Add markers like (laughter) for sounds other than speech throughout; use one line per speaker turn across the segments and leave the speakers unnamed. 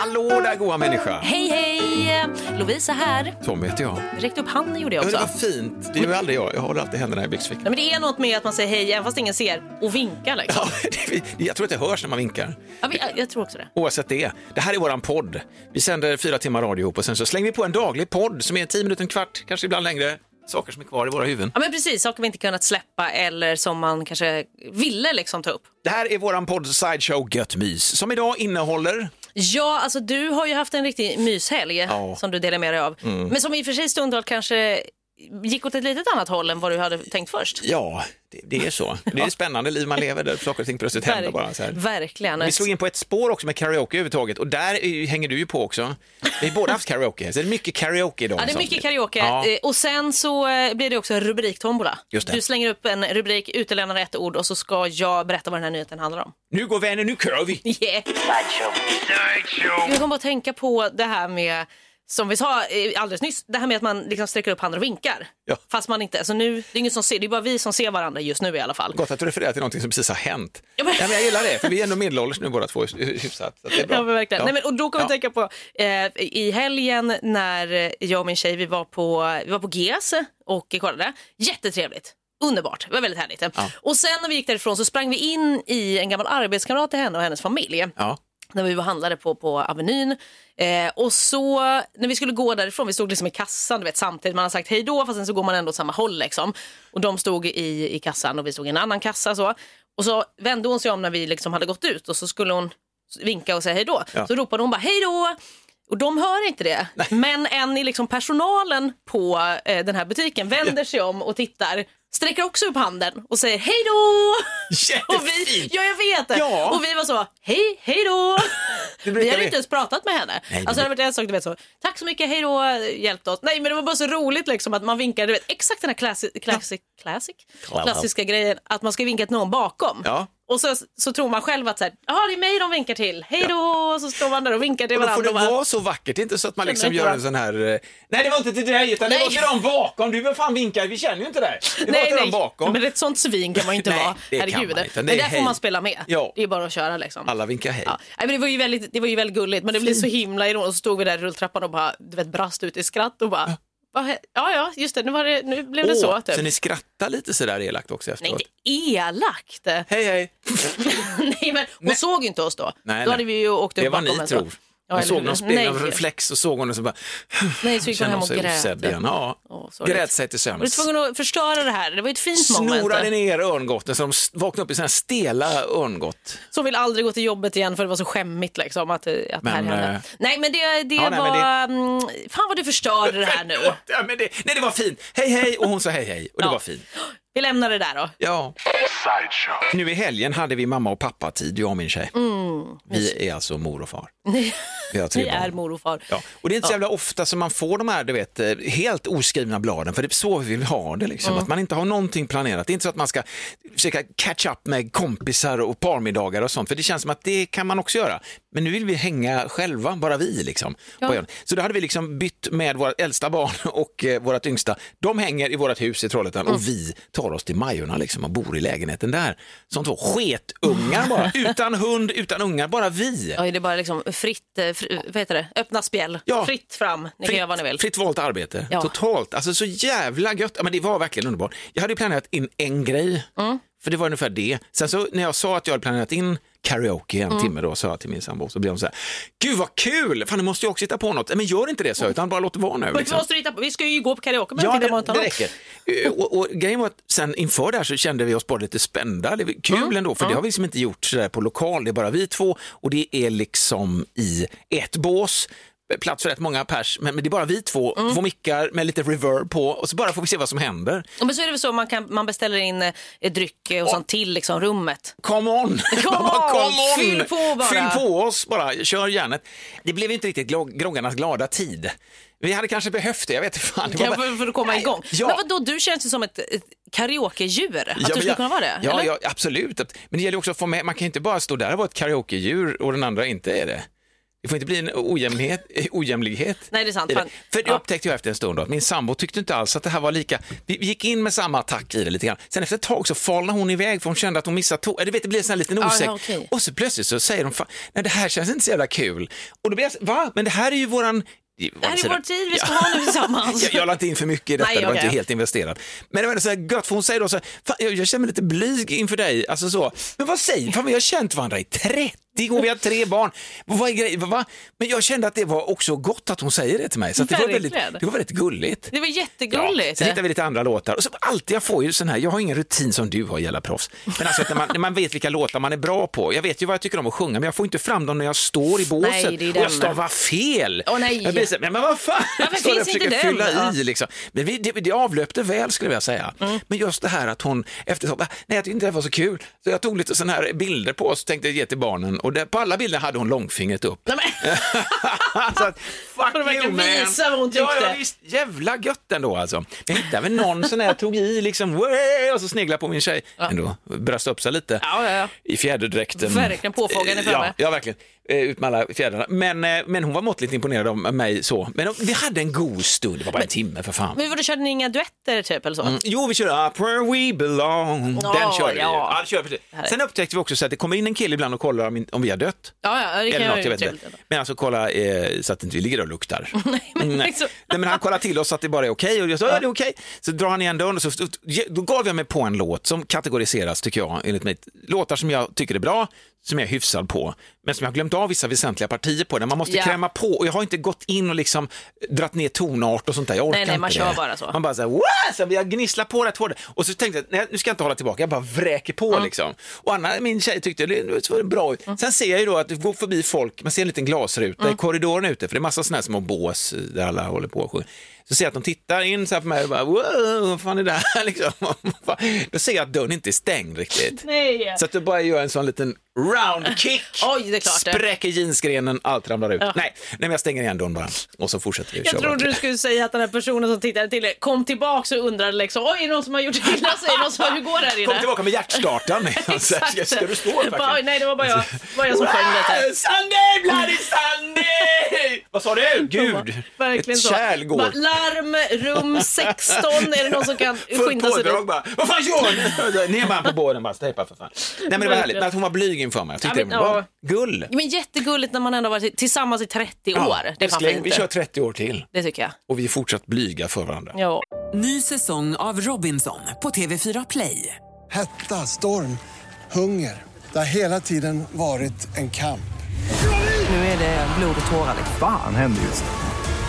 Hallå där goa människa!
Hej, hej! Lovisa här.
Tommy heter jag.
Räckte upp handen gjorde jag
Men det
också.
var fint. Det är ju aldrig jag. Jag håller alltid händerna i byxfickan.
(laughs) Nej, men det är något med att man säger hej även fast ingen ser och vinkar. Liksom.
Ja, det- jag tror att det hörs när man vinkar.
Ja, men jag, jag tror också det.
Oavsett det. Det här är våran podd. Vi sänder fyra timmar radio ihop och sen så slänger vi på en daglig podd som är tio minuter, en kvart, kanske ibland längre. Saker som är kvar i våra huvuden.
Ja, men precis, saker vi inte kunnat släppa eller som man kanske ville liksom, ta upp.
Det här är våran podd Sideshow Gött Mys som idag innehåller...
Ja, alltså du har ju haft en riktig myshelg
Ja. Mm.
som du delar med dig av. Men som i och för sig stundtal kanske gick åt ett litet annat håll än vad du hade tänkt först.
Ja, det, det är så. Det är ett spännande liv man lever där saker och ting plötsligt händer
Verk-
bara. Så här.
Verkligen.
Vi slog in på ett spår också med karaoke överhuvudtaget och där är ju- hänger du ju på också. Vi har båda haft karaoke, så det är mycket karaoke idag.
Ja, det är
Så-
mycket karaoke.
Liksom. Ja.
Eh, Och sen så eh, blir det också en rubriktombola.
Just det.
Du slänger upp en rubrik, utelämnar ett ord och så ska jag berätta vad den här nyheten handlar om.
Nu går vänner, nu kör vi!
Yeah. Jag kom bara att tänka på det här med, som vi sa eh, alldeles nyss, det här med att man liksom sträcker upp handen och vinkar.
Ja.
Fast man inte, alltså nu, det är ingen som ser, det är bara vi som ser varandra just nu i alla fall.
Gott att du refererar till någonting som precis har hänt.
Ja, men-
Ja, men jag gillar det, för vi är ändå medelålders nu båda två. Hyfsat, så att det är bra.
Ja, men verkligen.
Ja.
Nej, men, och då kommer
Ja.
jag tänka på eh, i helgen när jag och min tjej vi var på, vi var på GES och kollade. Jättetrevligt. Underbart, det var väldigt härligt. Och sen när vi gick därifrån så sprang vi in i en gammal arbetskamrat till henne och hennes familj.
Ja.
När vi var handlade på, på Avenyn. Eh, och så när vi skulle gå därifrån, vi stod liksom i kassan du vet, samtidigt. Man har sagt hej då fast sen så går man ändå åt samma håll. Liksom. Och de stod i, i kassan och vi stod i en annan kassa. Så. Och så vände hon sig om när vi liksom hade gått ut och så skulle hon vinka och säga hej då.
Ja.
Så ropade hon bara hej då. Och de hör inte det. Men en i liksom personalen på eh, den här butiken vänder sig om och tittar. Sträcker också upp handen och säger hej då. Och vi,
Jättefint!
ja, jag vet det.
Ja.
Och vi var så, hej, hej då.
(laughs) Det brukar
Vi hade
vi.
inte ens pratat med henne.
Nej, det
alltså, det hade varit en sak, du vet så, tack så mycket, hej då, hjälpt oss. Nej, men det var bara så roligt liksom att man vinkar, du vet, exakt den här classic, classic, classic,
Clubhouse.
klassiska grejen, att man ska vinka till någon bakom.
Ja.
Och så, så tror man själv att så här, "Jaha, det är mig de vinkar till, hej då, och så står man där och vinkar till
Och då får
varandra.
det
och bara-
vara så vackert, inte så att man liksom
Nej,
gör en sån här... eh, Nej, det var inte till dig, utan det
Nej.
var till dem bakom. Du, vem fan vinkar? Vi känner ju inte dig. Det var till dem bakom.
Men ett sånt svin kan man ju inte
Nej,
vara.
det kan
Herregud.
man inte.
Men
Nej,
där får
hej.
man spela med.
Ja.
Det är bara att köra liksom.
Alla vinkar hej.
Ja. Nej, men det, var ju väldigt, det var ju väldigt gulligt, men det blev så himla ironiskt. Och så stod vi där i rulltrappan och bara, du vet, brast ut i skratt och bara, "Vad hä- ja, ja, just det, nu, var det, nu blev det
Åh,
så. Typ.
Så ni skrattar lite sådär elakt också
Nej,
efteråt?
inte elakt.
Hej, hej!
(laughs)
(laughs)
nej, men hon såg ju inte oss då.
Nej,
då
nej.
hade vi ju åkt upp
Det är vad
bakom
ni
en så.
tror.
Ja,
Hon
eller
såg
hur?
någon spegel,
Nej.
en reflex och såg hon och så bara...
Nej, så gick hon
Kände
hem
hon
och
sig
grät.
osedd igen. Ja.
Åh, sorgligt.
grät sig till
Var du
sömns.
tvungen att förstöra det här? Det var ju ett fint
snorade
moment. eh.
ner örngotten så de s- vaknade upp i sådana här stela örngott.
Som vill aldrig gå till jobbet igen för det var så skämmigt liksom att, att det här
Men,
hände.
eh,
Nej men det, det
ja, nej,
var...
men
mm, Fan vad du förstörde det här nu.
Förlåt, ja, men det, nej, det var fint. Hej, hej! Och hon sa hej, hej. Och det var fint.
Vi lämnar det där då.
Ja. Nu i helgen hade vi mamma och pappa-tid, jag och min tjej. Vi är alltså mor och far. Vi har tre
Mm, (laughs) Ni
barn.
är mor och far.
Ja. Och det är inte så jävla ofta som man får de här du vet, eh, helt oskrivna bladen, för det är så vi vill ha det. Liksom. Att man inte har någonting planerat. Det är inte så att man ska försöka catch up med kompisar och parmiddagar och sånt, för det känns som att det kan man också göra. Men nu vill vi hänga själva, bara vi. Liksom, på ön. Så då hade vi liksom bytt med våra äldsta barn (laughs) och eh, vårt yngsta. De hänger i vårt hus i Trollhättan och vi tar oss till Majorna liksom, och bor i lägenheten där. Som två sketungar (laughs) bara, utan hund, utan ungar, bara vi.
Oj, det är bara liksom fritt, eh, fri, vad heter det? öppna spjäll,
Ja.
fritt fram, ni kan göra vad ni vill.
fritt valt arbete,
Ja.
totalt. Alltså så jävla gött. Ja, men det var verkligen underbart. Jag hade ju planerat in en grej,
Mm.
för det var ungefär det. Sen så när jag sa att jag hade planerat in karaoke
Mm.
en timme då, sa jag till min sambo, så blev hon så här, gud vad kul, fan nu måste jag också hitta på något. "Nej, Men gör inte det, så utan bara låt det vara nu.
Men
liksom.
vi, måste hitta på. vi ska ju gå på karaoke men
Ja,
inte
det,
imorgon.
det räcker. Eh, Och, och grejen var att sen inför det här så kände vi oss bara lite spända. Det var kul ändå, för det har vi liksom inte gjort sådär på lokal. Det är bara vi två och det är liksom i ett bås. Plats för rätt många pers, men, men det är bara vi två.
Mm.
Två mickar med lite reverb på och så bara får vi se vad som händer.
Ja, Men så är det väl så, man, kan, man beställer in eh, dryck eh, och sånt till liksom, rummet.
Come on!
Come
Man (laughs) bara,
on! Fyll på bara.
Fyll på oss bara, kör järnet. Det blev inte riktigt glo- groggarnas glada tid. Vi hade kanske behövt det, jag vet inte fan. Det var
Kan
bara-
för, för att komma igång.
Ja.
Men vadå, du känns ju som ett, ett karaokedjur. Att
Ja,
du
men
skulle
jag-
kunna vara det.
Ja,
eller?
ja, absolut. Att- Men det gäller ju också att få med, man kan ju inte bara stå där och vara ett karaokedjur och den andra inte är det. Det får inte bli en ojämnhet, eh, ojämlighet.
Nej, det är sant.
i
Fan.
För det
Ja.
upptäckte jag efter en stund då, att min sambo tyckte inte alls att det här var lika, vi vi gick in med samma attack i det lite grann. Sen efter ett tag så falnade hon iväg för hon kände att hon missade tåget. Du vet, det blir en sån här liten
ja,
osäker.
okej.
Och så plötsligt så säger de, "Fan, nej det här känns inte så jävla kul. Och då blir jag, så- va? Men det här är ju våran...
Det här är vår tid vi ska ha nu
(laughs)
tillsammans.
Jag, jag la inte in för mycket i detta,
Nej,
det var
okej.
inte helt investerad. Men det var ändå så här gött, för hon säger då så här, fan, jag, jag känner mig lite blyg inför dig, alltså så. Men vad säger fan, vi har känt varandra i 30 år, vi har tre barn. Vad är grejen? Vad- vad? Men jag kände att det var också gott att hon säger det till mig, så att det, var väldigt,
Verkligen.
det var väldigt gulligt.
Det var
Ja,
jättegulligt.
sen hittar vi lite andra låtar. Och så alltid, jag får ju sån här, jag har ingen rutin som du har gälla proffs. Men alltså att när man, när man vet vilka låtar man är bra på. Jag vet ju vad jag tycker om att sjunga, men jag får inte fram dem när jag står i båset
Nej, det är
och jag
den.
stavar fel.
Åh, nej.
Jag blir så, här, men, men vad fan,
Varför
står där och
finns inte
försöker
den?
fylla
Ja.
i liksom. Men vi, det, det avlöpte väl skulle jag säga.
Mm.
Men just det här att hon efteråt, "Ah, nej jag tyckte inte det var så kul. Så jag tog lite såna här bilder på oss, tänkte ge till barnen och där, på alla bilder hade hon långfingret upp.
Nej, men,
(laughs) så att, fuck
Hon verkar
you man.
visa vad hon
Ja,
tyckte.
ja, visst. Jävla gött ändå alltså. Jag hittade väl någon sån här, tog i liksom, "Way!" och så sneglade på min tjej. Ändå bröst upp sig lite
Ja, ja, ja.
i fjäderdräkten.
Verkligen, påfågeln är framme.
Ja, ja, verkligen. Eh, Ut med alla fjädrarna. Men, eh, men hon var måttligt imponerad av mig så. Men de- vi hade en god stund, det var bara en timme för fan.
men vadå, körde ni inga duetter typ eller så?
Jo, vi körde Up where we belong.
Ja,
Den körde vi.
ja.
Ja, det körde vi.
Härligt.
Sen upptäckte vi också så att det kommer in en kille ibland och kollar om, om vi har dött.
Ja, ja, det kan
Eller något,
jag
jag
ju
vet
trevligt
inte.
ändå.
Men alltså kolla eh, så att inte vi ligger och
(laughs)
luktar. Mm, Nej,
men liksom-
Nej, men han kollar till oss så att det bara är okej och jag sa, ja det är okej. Så drar han igen dörren och så, då gav jag mig på en låt som kategoriseras tycker jag, enligt mig, låtar som jag tycker är bra, som jag är hyfsad på, men som jag har glömt av vissa väsentliga partier på, där man måste
Ja.
kräma på och jag har inte gått in och liksom dratt ner tonart och sånt där, jag orkar
Nej, nej, man
inte
kör
det.
bara så.
Man bara så här, "Wow!" så jag gnisslar på rätt hårt och så tänkte jag, nej nu ska jag inte hålla tillbaka, jag bara vräker på liksom. Och Anna, min tjej tyckte det det var bra ut. Sen ser jag ju då att det går förbi folk, man ser en liten glasruta i korridoren ute, för det är massa sådana här små bås eh, där alla håller på och sjunger. Så ser jag att de tittar in så här på mig och bara, wow, vad fan är det här (laughs) liksom? Då ser jag att dörren inte är stängd riktigt.
Nej.
Så att du bara gör en sån liten round kick,
Oj, det är klart det.
spräcker jeansgrenen, allt ramlar ut. Nej, nej, men jag stänger igen dörren bara och så fortsätter vi
Jag
köra
trodde
vårt-
du skulle säga att den här personen som tittade till er kom tillbaka och undrade liksom, oj är det någon som har gjort illa sig? Är det någon som, hur går det här inne?
Kom
(laughs)
tillbaka med hjärtstartaren.
Exakt.
Ska, ska du stå upp verkligen?
Bara, Oj, nej, det var bara jag, bara jag som sjöng
Wow,
lite.
Sunday, bloody Sunday! Vad
(laughs)
sa du? Gud,
Verkligen
ett
så.
kärl går.
Bara, Larm, rum 16, är det någon som kan
Fullt
skynda sig
pådrag
dit?
bara, vad fan gör ni? (laughs) Ner med han på båden bara, stejpa för fan. Nej men det var härligt,
Verkligen.
men att hon var blyg inför mig. Jag tyckte
Ja, men,
det var
ja.
gull.
Men jättegulligt när man ändå har varit tillsammans i 30 år. det är fan
älskling,
fint.
vi kör 30 år till
Det tycker jag.
och vi är fortsatt blyga för varandra.
Ja.
Ny säsong av Robinson på TV4 Play.
Hetta, storm, hunger. Det har hela tiden varit en kamp.
Nu är det blod och tårar. liksom.
Fan händer just nu.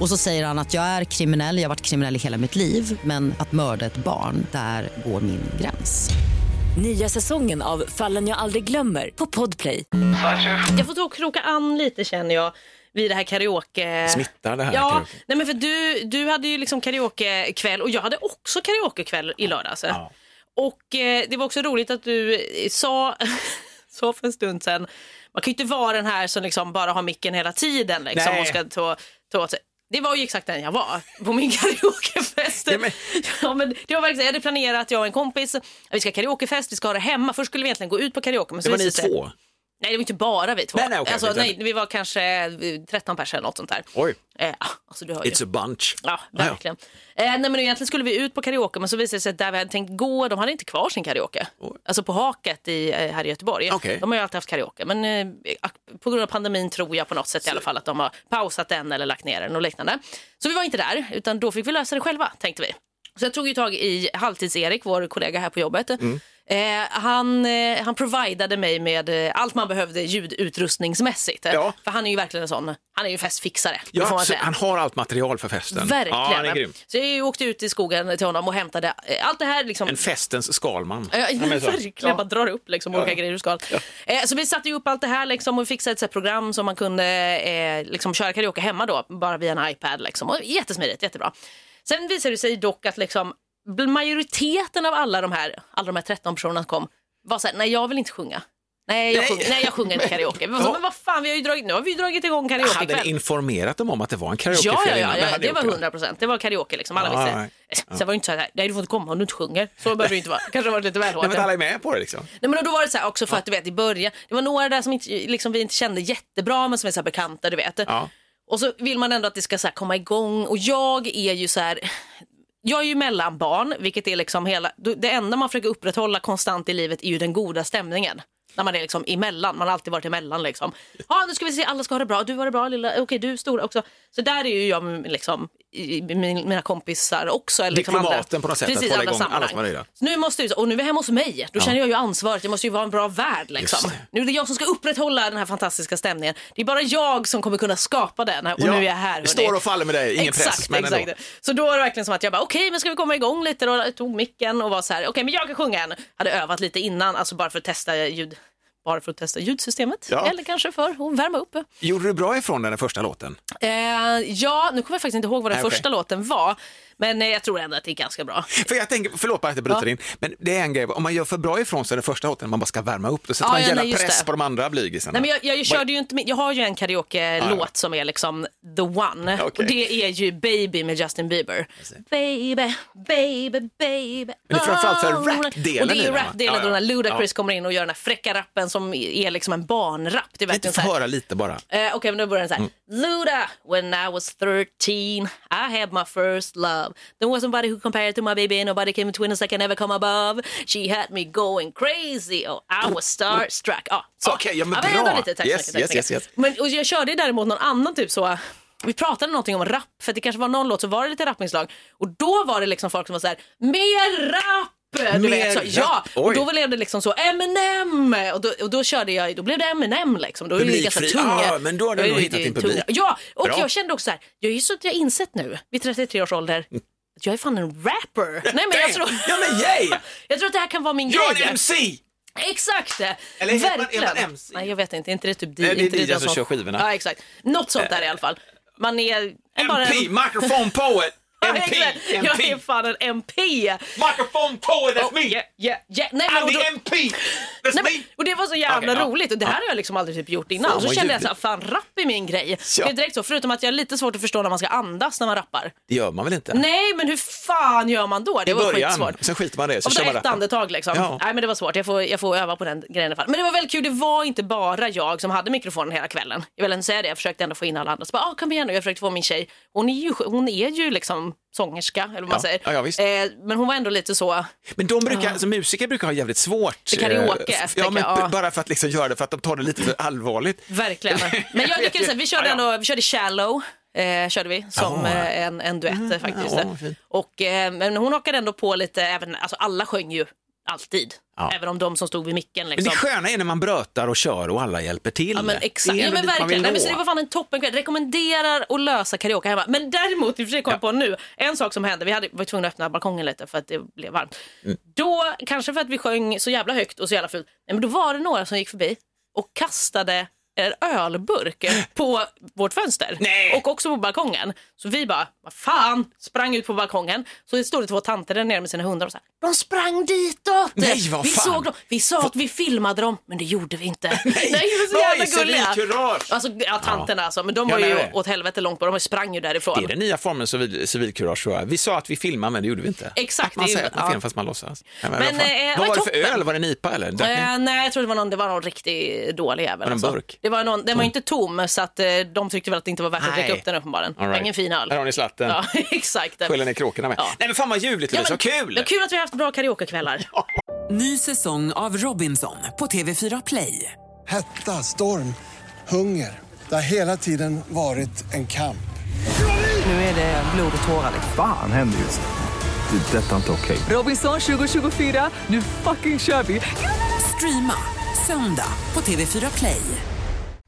Och så säger han att jag är kriminell, jag har varit kriminell i hela mitt liv men att mörda ett barn, där går min gräns.
Nya säsongen av Fallen jag aldrig glömmer på Podplay.
Jag får ta och kroka an lite känner jag vid det här karaoke...
Smittar det här
Ja,
karaoke?
nej men för du, du hade ju liksom karaokekväll och jag hade också karaokekväll i lördags. Och eh, det var också roligt att du eh, sa, (laughs) sa för en stund sedan, man kan ju inte vara den här som liksom bara har micken hela tiden liksom,
Nej.
och ska ta, ta åt sig. Det var ju exakt den jag var på min (laughs) karaokefest.
Ja, men-
Ja, men det var verkligen, så. jag hade planerat, jag och en kompis, att vi ska ha karaokefest, vi ska ha det hemma. Först skulle vi egentligen gå ut på karaoke. Men så
Det var
visade
ni
det sig-
två.
Nej, det var inte bara vi två.
Nej, nej, okej,
alltså,
utan-
nej, vi var kanske eh, 13 personer eller något sånt där.
Oj.
Eh, alltså, du hör ju.
It's a bunch.
Ja, verkligen. Eh, nej, men egentligen skulle vi ut på karaoke, men så visade det sig att där vi hade tänkt gå, de hade inte kvar sin karaoke. Alltså på Haket i, eh, här i Göteborg.
Okej.
De har ju alltid haft karaoke, men eh, ak- på grund av pandemin tror jag på något sätt i alla fall att de har pausat den eller lagt ner den och liknande. Så vi var inte där,
Mm.
utan då fick vi lösa det själva, tänkte vi. Så jag tog ju tag i Halvtids-Erik, vår kollega här på jobbet, Eh, han, eh, han providade mig med eh, allt man behövde ljudutrustningsmässigt. eh,
Ja.
För han är ju verkligen en sån, han är ju festfixare. det får
Ja,
man
så
säga.
han har allt material för festen.
Verkligen.
Ja, han är grym.
så jag åkte ut i skogen till honom och hämtade eh, allt det här. Liksom,
En festens Skalman.
Ja,
Ja, men så.
(laughs) verkligen, bara drar upp liksom, olika grejer ur skal. Eh, så vi satte ju upp allt det här liksom, och vi fixade ett så här, program som man kunde eh, liksom, köra karaoke hemma då, bara via en iPad. Liksom. Och, jättesmidigt, jättebra. Sen visade det sig dock att liksom, bl- majoriteten av alla de här, alla de här 13 personerna som kom var så här, nej jag vill inte sjunga. Nej, jag,
Nej.
sjunger, nej, jag
(laughs)
sjunger inte karaoke. Vi var så,
Ja.
Men vad fan, vi har ju dragit, nu har vi ju dragit igång
Hade ni
karaokekväll.
informerat dem om att det var en
Ja,
karaokekväll
ja,
innan?
ja, ja,
hade
det
gjort,
var
Ah, va?
100 procent. Det var karaoke liksom. Alla
Ja,
visste. Sen var det inte så här, nej du får inte komma om du inte sjunger. Så behöver det ju
(laughs)
inte vara. Kanske var det lite väl hårt.
Nej, men alla är med på det liksom.
Nej, men då var det så här också för att du vet i början, det var några där som inte, liksom, vi inte kände jättebra men som är så här bekanta du vet.
Ja.
Och så vill man ändå att det ska så här komma igång och jag är ju så här, jag är ju mellanbarn vilket är liksom hela, det enda man försöker upprätthålla konstant i livet är ju den goda stämningen. När man är liksom emellan, man har alltid varit emellan liksom. Ja nu ska vi se, alla ska ha det bra, du har det bra lilla, okej du stora också. Så där är ju jag liksom, i, i, min- mina kompisar också. Eller liksom
Diplomaten
andra-
på något sätt, att
Precis,
hålla
andra
igång alla
sammanhang.
som är nöjda.
Så nu måste ju, och nu är vi hemma hos mig, då känner jag ju ansvaret, jag måste ju vara en bra värd. Liksom.
Just det.
Nu är det jag som ska upprätthålla den här fantastiska stämningen. Det är bara jag som kommer kunna skapa den och nu är jag här. hörni.
Det står och faller med dig, ingen
exakt,
press. Men
exakt.
ändå.
Så då var det verkligen som att jag bara, okej men ska vi komma igång lite då? Jag tog micken och var så här, okej men jag kan sjunga en. Hade övat lite innan, alltså bara för att testa ljud. Bara för att testa ljudsystemet.
Ja.
Eller kanske för att värma upp.
Gjorde du bra ifrån den första låten?
Eh, ja, nu kommer jag faktiskt inte ihåg vad den
Nej, okej.
första låten var. Men eh, jag tror ändå att det är ganska bra.
För jag tänker, förlåt bara att jag bryter in, men det är en grej, om man gör för bra ifrån sig den första låten, man bara ska värma upp, då sätter
Ja,
man
ja,
jävla
nej, just
press
det.
på de andra blygisarna.
Nej, men jag, jag, körde ju inte, min- jag har ju en karaoke-låt
liksom. Ah, Ja, ja.
som är liksom the one.
Okej.
Och det är ju Baby med Justin Bieber. Baby, baby, baby.
Men det är framförallt för
Oh.
rap-delen
Och det
i
är
den,
ju
va?
rap-delen
Ja, ja.
då när Ludacris
Ja.
kommer in och gör den här fräcka rappen som är liksom en barnrapp. Det är
Kan inte
verkligen
få
så här.
höra lite bara.
Eh, Okej, men nu börjar den
Mm.
så här. Luda, when I was 13 I had my first love There was somebody who compared to my baby Nobody came between us I can never come above She had me going crazy Oh, I was starstruck ah, så.
Okej, ja, men
vänta
bra.
Lite. Tack,
Yes,
yes, tack,
yes,
tack.
yes, yes.
Men, och jag körde ju däremot någon annan typ så vi pratade någonting om rap, för att det kanske var någon låt så var det lite rappinslag och då var det liksom folk som var så här, mer rap! Du
Mer
vet, så, ja,
rap,
och
oj.
då blev det liksom så Eminem och då, och då körde jag, då blev det Eminem liksom. Då är det ju ganska
Publikfri.
tung.
Ja, men då har du
är
nog
ju-
hittat din
tung-
publik.
Ja, och
Bra.
jag kände också så här, jag är ju så att jag har insett nu vid 33 års ålder att jag är fan
(laughs)
en rapper. Nej men jag tror,
Mm. Ja men yay!
(laughs) jag tror att det här kan vara min
Jag är
grej.
en MC!
Exakt!
Eller är man-
Verkligen.
är man MC?
Nej, jag vet inte. Inte det typ
Nej, det är
inte
DJ
den
som kör skivorna.
Ja, exakt. Något sånt där i alla fall. Man är... bara
MP, microphone poet! MP,
Exakt. Jag är
MP,
fan en MP!
microphone poet, that's
Oh,
me!
yeah, yeah, yeah. Nej, men, och,
I'm
då,
the MP! That's
nej,
me!
men, och det var så jävla
Okej, ja.
roligt och det här har jag liksom aldrig typ gjort innan.
Fan,
så
vad
kände jag så här,
ljuvligt.
fan rapp är min grej.
Ja.
Det är direkt så, förutom att jag är lite svårt att förstå när man ska andas när man rappar.
Det gör man väl inte?
Nej, men hur fan gör man då? Det
I
var
början,
skitsvårt.
sen skiter man i det, så
Och
kör man
så ett
rappen.
andetag liksom.
Ja.
Nej men det var svårt, jag får, jag får öva på den grejen i alla fall. Men det var väldigt kul, det var inte bara jag som hade mikrofonen hela kvällen. Jag vill ändå säga det, jag försökte ändå få in alla andra. Så bara, ah, kom igen nu, jag försökte få min tjej. Hon är ju, hon är ju liksom sångerska, eller vad man
Ja.
säger.
Ja, ja, visst.
Eh, men hon var ändå lite så,
Men de brukar, alltså, musiker brukar ha jävligt svårt.
För karaoke,
eh,
tänker
ja, men
jag, ja.
b- Bara för att liksom göra det, för att de tar det lite för allvarligt. (laughs)
verkligen. Men jag lyckades, vi körde
Ja, ja.
ändå, vi körde Shallow. Eh, körde vi som
Ja.
eh, en, en duett eh, faktiskt.
Mm. ja, fint.
och, eh, men hon hakade ändå på lite, även, alltså alla sjöng ju alltid.
Ja.
Även om de som stod vid micken. Liksom.
Men det sköna är när man brötar och kör och alla hjälper till.
Ja men exakt.
Det är
Ja,
väl
men
dit man vill
verkligen. Nej, men så
nå.
det var fan en toppenkväll. Rekommenderar att lösa karaoke hemma. Men däremot, i och för sig kom jag på nu, en sak som hände. Vi hade, var tvungna att öppna balkongen lite för att det blev varmt.
Mm.
Då, kanske för att vi sjöng så jävla högt och så jävla fult, nej, men då var det några som gick förbi och kastade en
(laughs)
ölburk på vårt fönster
Nej.
och också på balkongen. Så vi bara, vad fan, sprang ut på balkongen. Så stod det två tanter där nere med sina hundar och så här, de sprang ditåt.
Nej, vad
vi,
fan.
såg dem. vi sa att vi filmade dem, men det gjorde vi inte. Nej, de är
(laughs)
så
Nej,
jävla
civilkurage.
gulliga. Alltså, ja, tanterna alltså. Men de
Ja,
var
nej,
ju
nej.
åt helvete långt bort. De sprang ju därifrån.
Det är den nya formen civil, civilkurage tror jag. Vi sa att vi filmar men det gjorde vi inte.
Exakt,
Att man
det är ju-
säger att man
ja.
filmar fast man låtsas. Nej, men,
Men,
vad fan.
eh, vad
Vad var det
toppen.
för öl? Var det en IPA eller? Drack ni?
Eh, nej, jag tror det var någon, det var någon riktigt dålig jävel.
det en
alltså.
burk?
Det var någon, den var ju inte tom, så att, eh, de tyckte väl att det inte var värt att
Nej.
dricka upp den uppenbarligen.
All right.
Ingen fin öl.
Här har ni slatten.
Ja, (laughs) exakt.
Skölja ner kråkorna med.
Ja.
Nej men fan vad ljuvligt
Ja,
Lovisa,
men-
vad kul!
Ja, kul att vi har haft bra karaokekvällar.
Ny säsong av Robinson på TV4 Play.
Hetta, storm, hunger. Det har hela tiden varit en kamp.
Nu är det blod och tårar. liksom.
Fan händer just det. Det är detta inte okej.
Robinson 2024, nu fucking kör vi! Streama söndag på TV4 Play.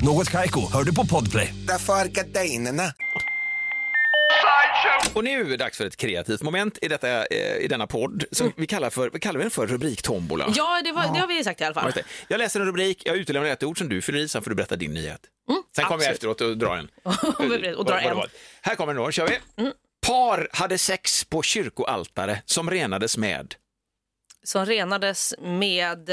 Något Kaiko, hör du på Podplay.
Därför arkadeinerna.
Och nu är det dags för ett kreativt moment i, detta, eh, i denna podd som vi kallar för, vad kallar vi den för, rubriktombola?
Mm. Ja, det, var, det har vi sagt i alla fall.
Just det. Jag läser en rubrik, jag utelämnar ett ord som du fyller i, sen får du berätta din nyhet.
Mm.
sen kommer jag efteråt och drar
(laughs)
en.
Och
Vad-
drar
vad det
en. Mm.
var. Här kommer den då, kör vi. Par hade sex på kyrkoaltare som renades med.
Som renades med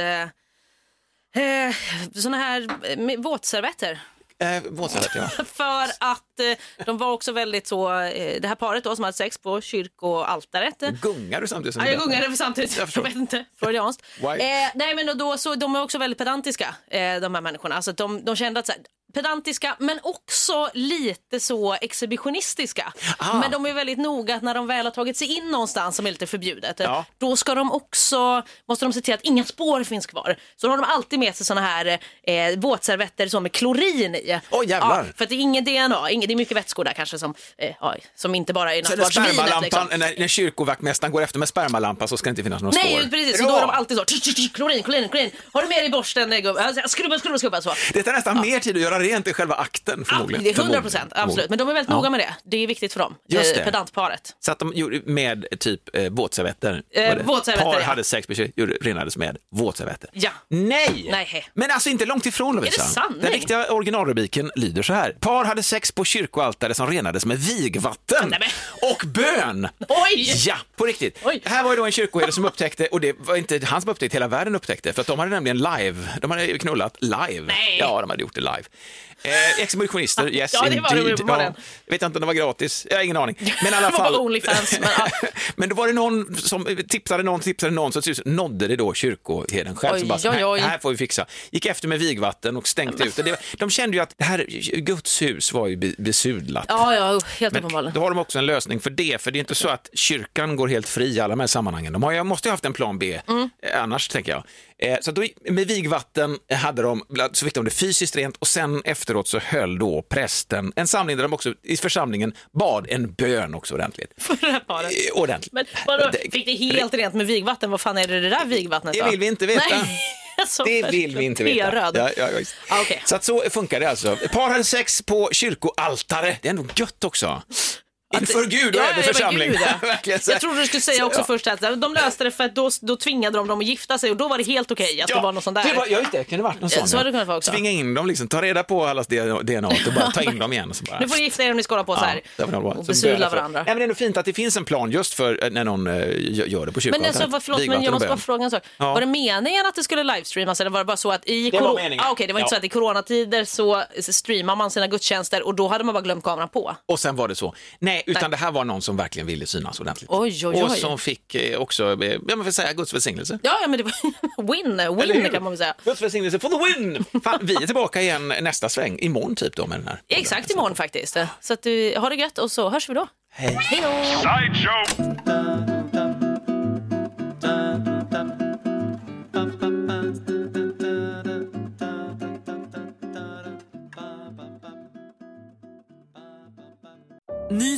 eh, eh, såna här eh, med våtservetter.
Eh, våtservett, ja.
(laughs) För att eh, de var också väldigt så, eh, det här paret då som hade sex på kyrkoaltaret. eh,
Gungar du samtidigt som
Ja,
du
jag
berättar?
gungade för samtidigt.
Jag
Jag,
förstår.
vet inte. Freudianskt.
Why?
Eh, nej, men då, då, så, de är också väldigt pedantiska, eh, de här människorna. Alltså, de, de kände att så här, pedantiska, men också lite så exhibitionistiska.
Ah.
Men de är väldigt noga att när de väl har tagit sig in någonstans som är lite förbjudet, eh,
Ja.
då ska de också, måste de se till att inga spår finns kvar. Så då har de alltid med sig såna här eh, våtservetter så med klorin i.
Åh, jävlar.
Ja, för att det är ingen DNA, ingen, det är mycket vätskor där kanske som, eh, ja, som inte bara är
Sen när
nattvardsvinet. liksom.
spermalampan, när, när kyrkovaktmästaren går efter med spermalampan så ska det inte finnas några
Nej,
spår.
precis. Så
Bra!
då har de alltid så, tsch, tsch, tsch, klorin, klorin, klorin. Har du med dig borsten? eh, gubbe? Alltså, Skrubba, skrubba, skrubba. Så.
Det tar nästan mer tid att göra rent i själva akten förmodligen.
Det är 100
Förmodligen.
procent, absolut. Men de är väldigt
Ja.
noga med det. Det är viktigt för dem.
Just
eh,
det.
Pedantparet.
Så att de gjorde med typ eh, våtservetter.
Eh,
Var det?
våtservetter,
Par
ja.
hade sex med tjej, gjorde- renades med våtservetter.
Ja.
Nej!
Nej.
Men alltså inte långt ifrån Lovisa.
Är det sanning?
Den riktiga originalrubriken lyder så här. Par hade sex på kyrkoaltare som renades med vigvatten
Nej,
och bön.
Oj!
Ja, på riktigt.
Oj.
Här var ju då en kyrkoherde som upptäckte, och det var inte han som upptäckte, hela världen upptäckte, för att de hade nämligen live, de hade ju knullat live.
Nej.
Ja, de hade gjort det live. Eh, Exhibitionister, yes
Ja, det var det
indeed.
uppenbarligen.
jag vet inte om det var gratis, jag har ingen aning. Men i
(laughs)
alla
Det var
fall.
bara Onlyfans, men, ja.
(laughs) Men då var det någon som tipsade någon, tipsade någon, så till slut nådde det då kyrkoherden själv.
Oj,
som bara, så här,
oj, oj.
här får vi fixa. Gick efter med vigvatten och stängde ut det. det. var- De kände ju att det här Guds hus var ju be- besudlat.
Ja, ja, helt
Men
uppenbarligen.
då har de också en lösning för det, för det är inte så att kyrkan går helt fri i alla de här sammanhangen. De har, jag måste ju ha haft en plan B,
Mm.
eh, annars tänker jag. Eh, så att då, med vigvatten eh, hade de, bland- så fick de det fysiskt rent och sen efteråt så höll då prästen en samling där de också i församlingen bad en bön också ordentligt.
För (laughs) det här paret.
Eh, Ordentligt.
Men vadå, fick det helt rent med vigvatten? Vad fan är det det där vigvattnet
Det
då?
vill vi inte veta.
Nej. (laughs) Alltså,
Det vill vi inte veta.
Röd.
Ja, ja, visst.
Ah, okej.
Så att så funkar det alltså. Par hade sex på kyrkoaltare. Det är ändå gött också. Inför Gud och även
Ja, ja, ja, men
församling.
gud, ja.
(laughs) Verkligen så här.
Jag trodde du skulle säga
Så,
också
ja.
först att de löste det för att då, då tvingade de dem att gifta sig och då var det helt okej att det var något sånt där.
Det var, ja, just det. Det kunde varit någon
Ja,
sån.
så
ja.
hade det kunnat vara också.
Tvinga in dem, liksom, ta reda på allas DNA och
(laughs)
bara ta in dem igen. Och så bara,
Nu får ni gifta er om ni skålar på så här
där får de vara.
och
Så
besudla
bönar för-
varandra.
Nej, men det är nog fint att det finns en plan just för eh, när någon eh, gö- gör det på kyrkan.
Men alltså, vad, förlåt, men jag måste bara fråga en sak.
Ja.
Var det meningen att det skulle livestreamas eller var det bara så att i,
Det var
coro-
meningen.
ah, okej, det var inte
Ja.
så att i coronatider så streamar man sina gudstjänster och då hade man bara glömt kameran på?
Och sen var det så. Nej, utan det här var någon som verkligen ville synas ordentligt.
Oj, oj,
Och
oj.
som fick eh, också, eh, ja men får jag säga, Guds välsignelse.
Ja, ja men det var (laughs) win,
Eller hur?
win kan man väl säga.
Guds välsignelse for the win! Fan, vi är tillbaka igen nästa sväng, imorgon typ då med den här.
Exakt imorgon faktiskt. Så att du, ha det gött och så hörs vi då.
Hej.
Hej då!
Ny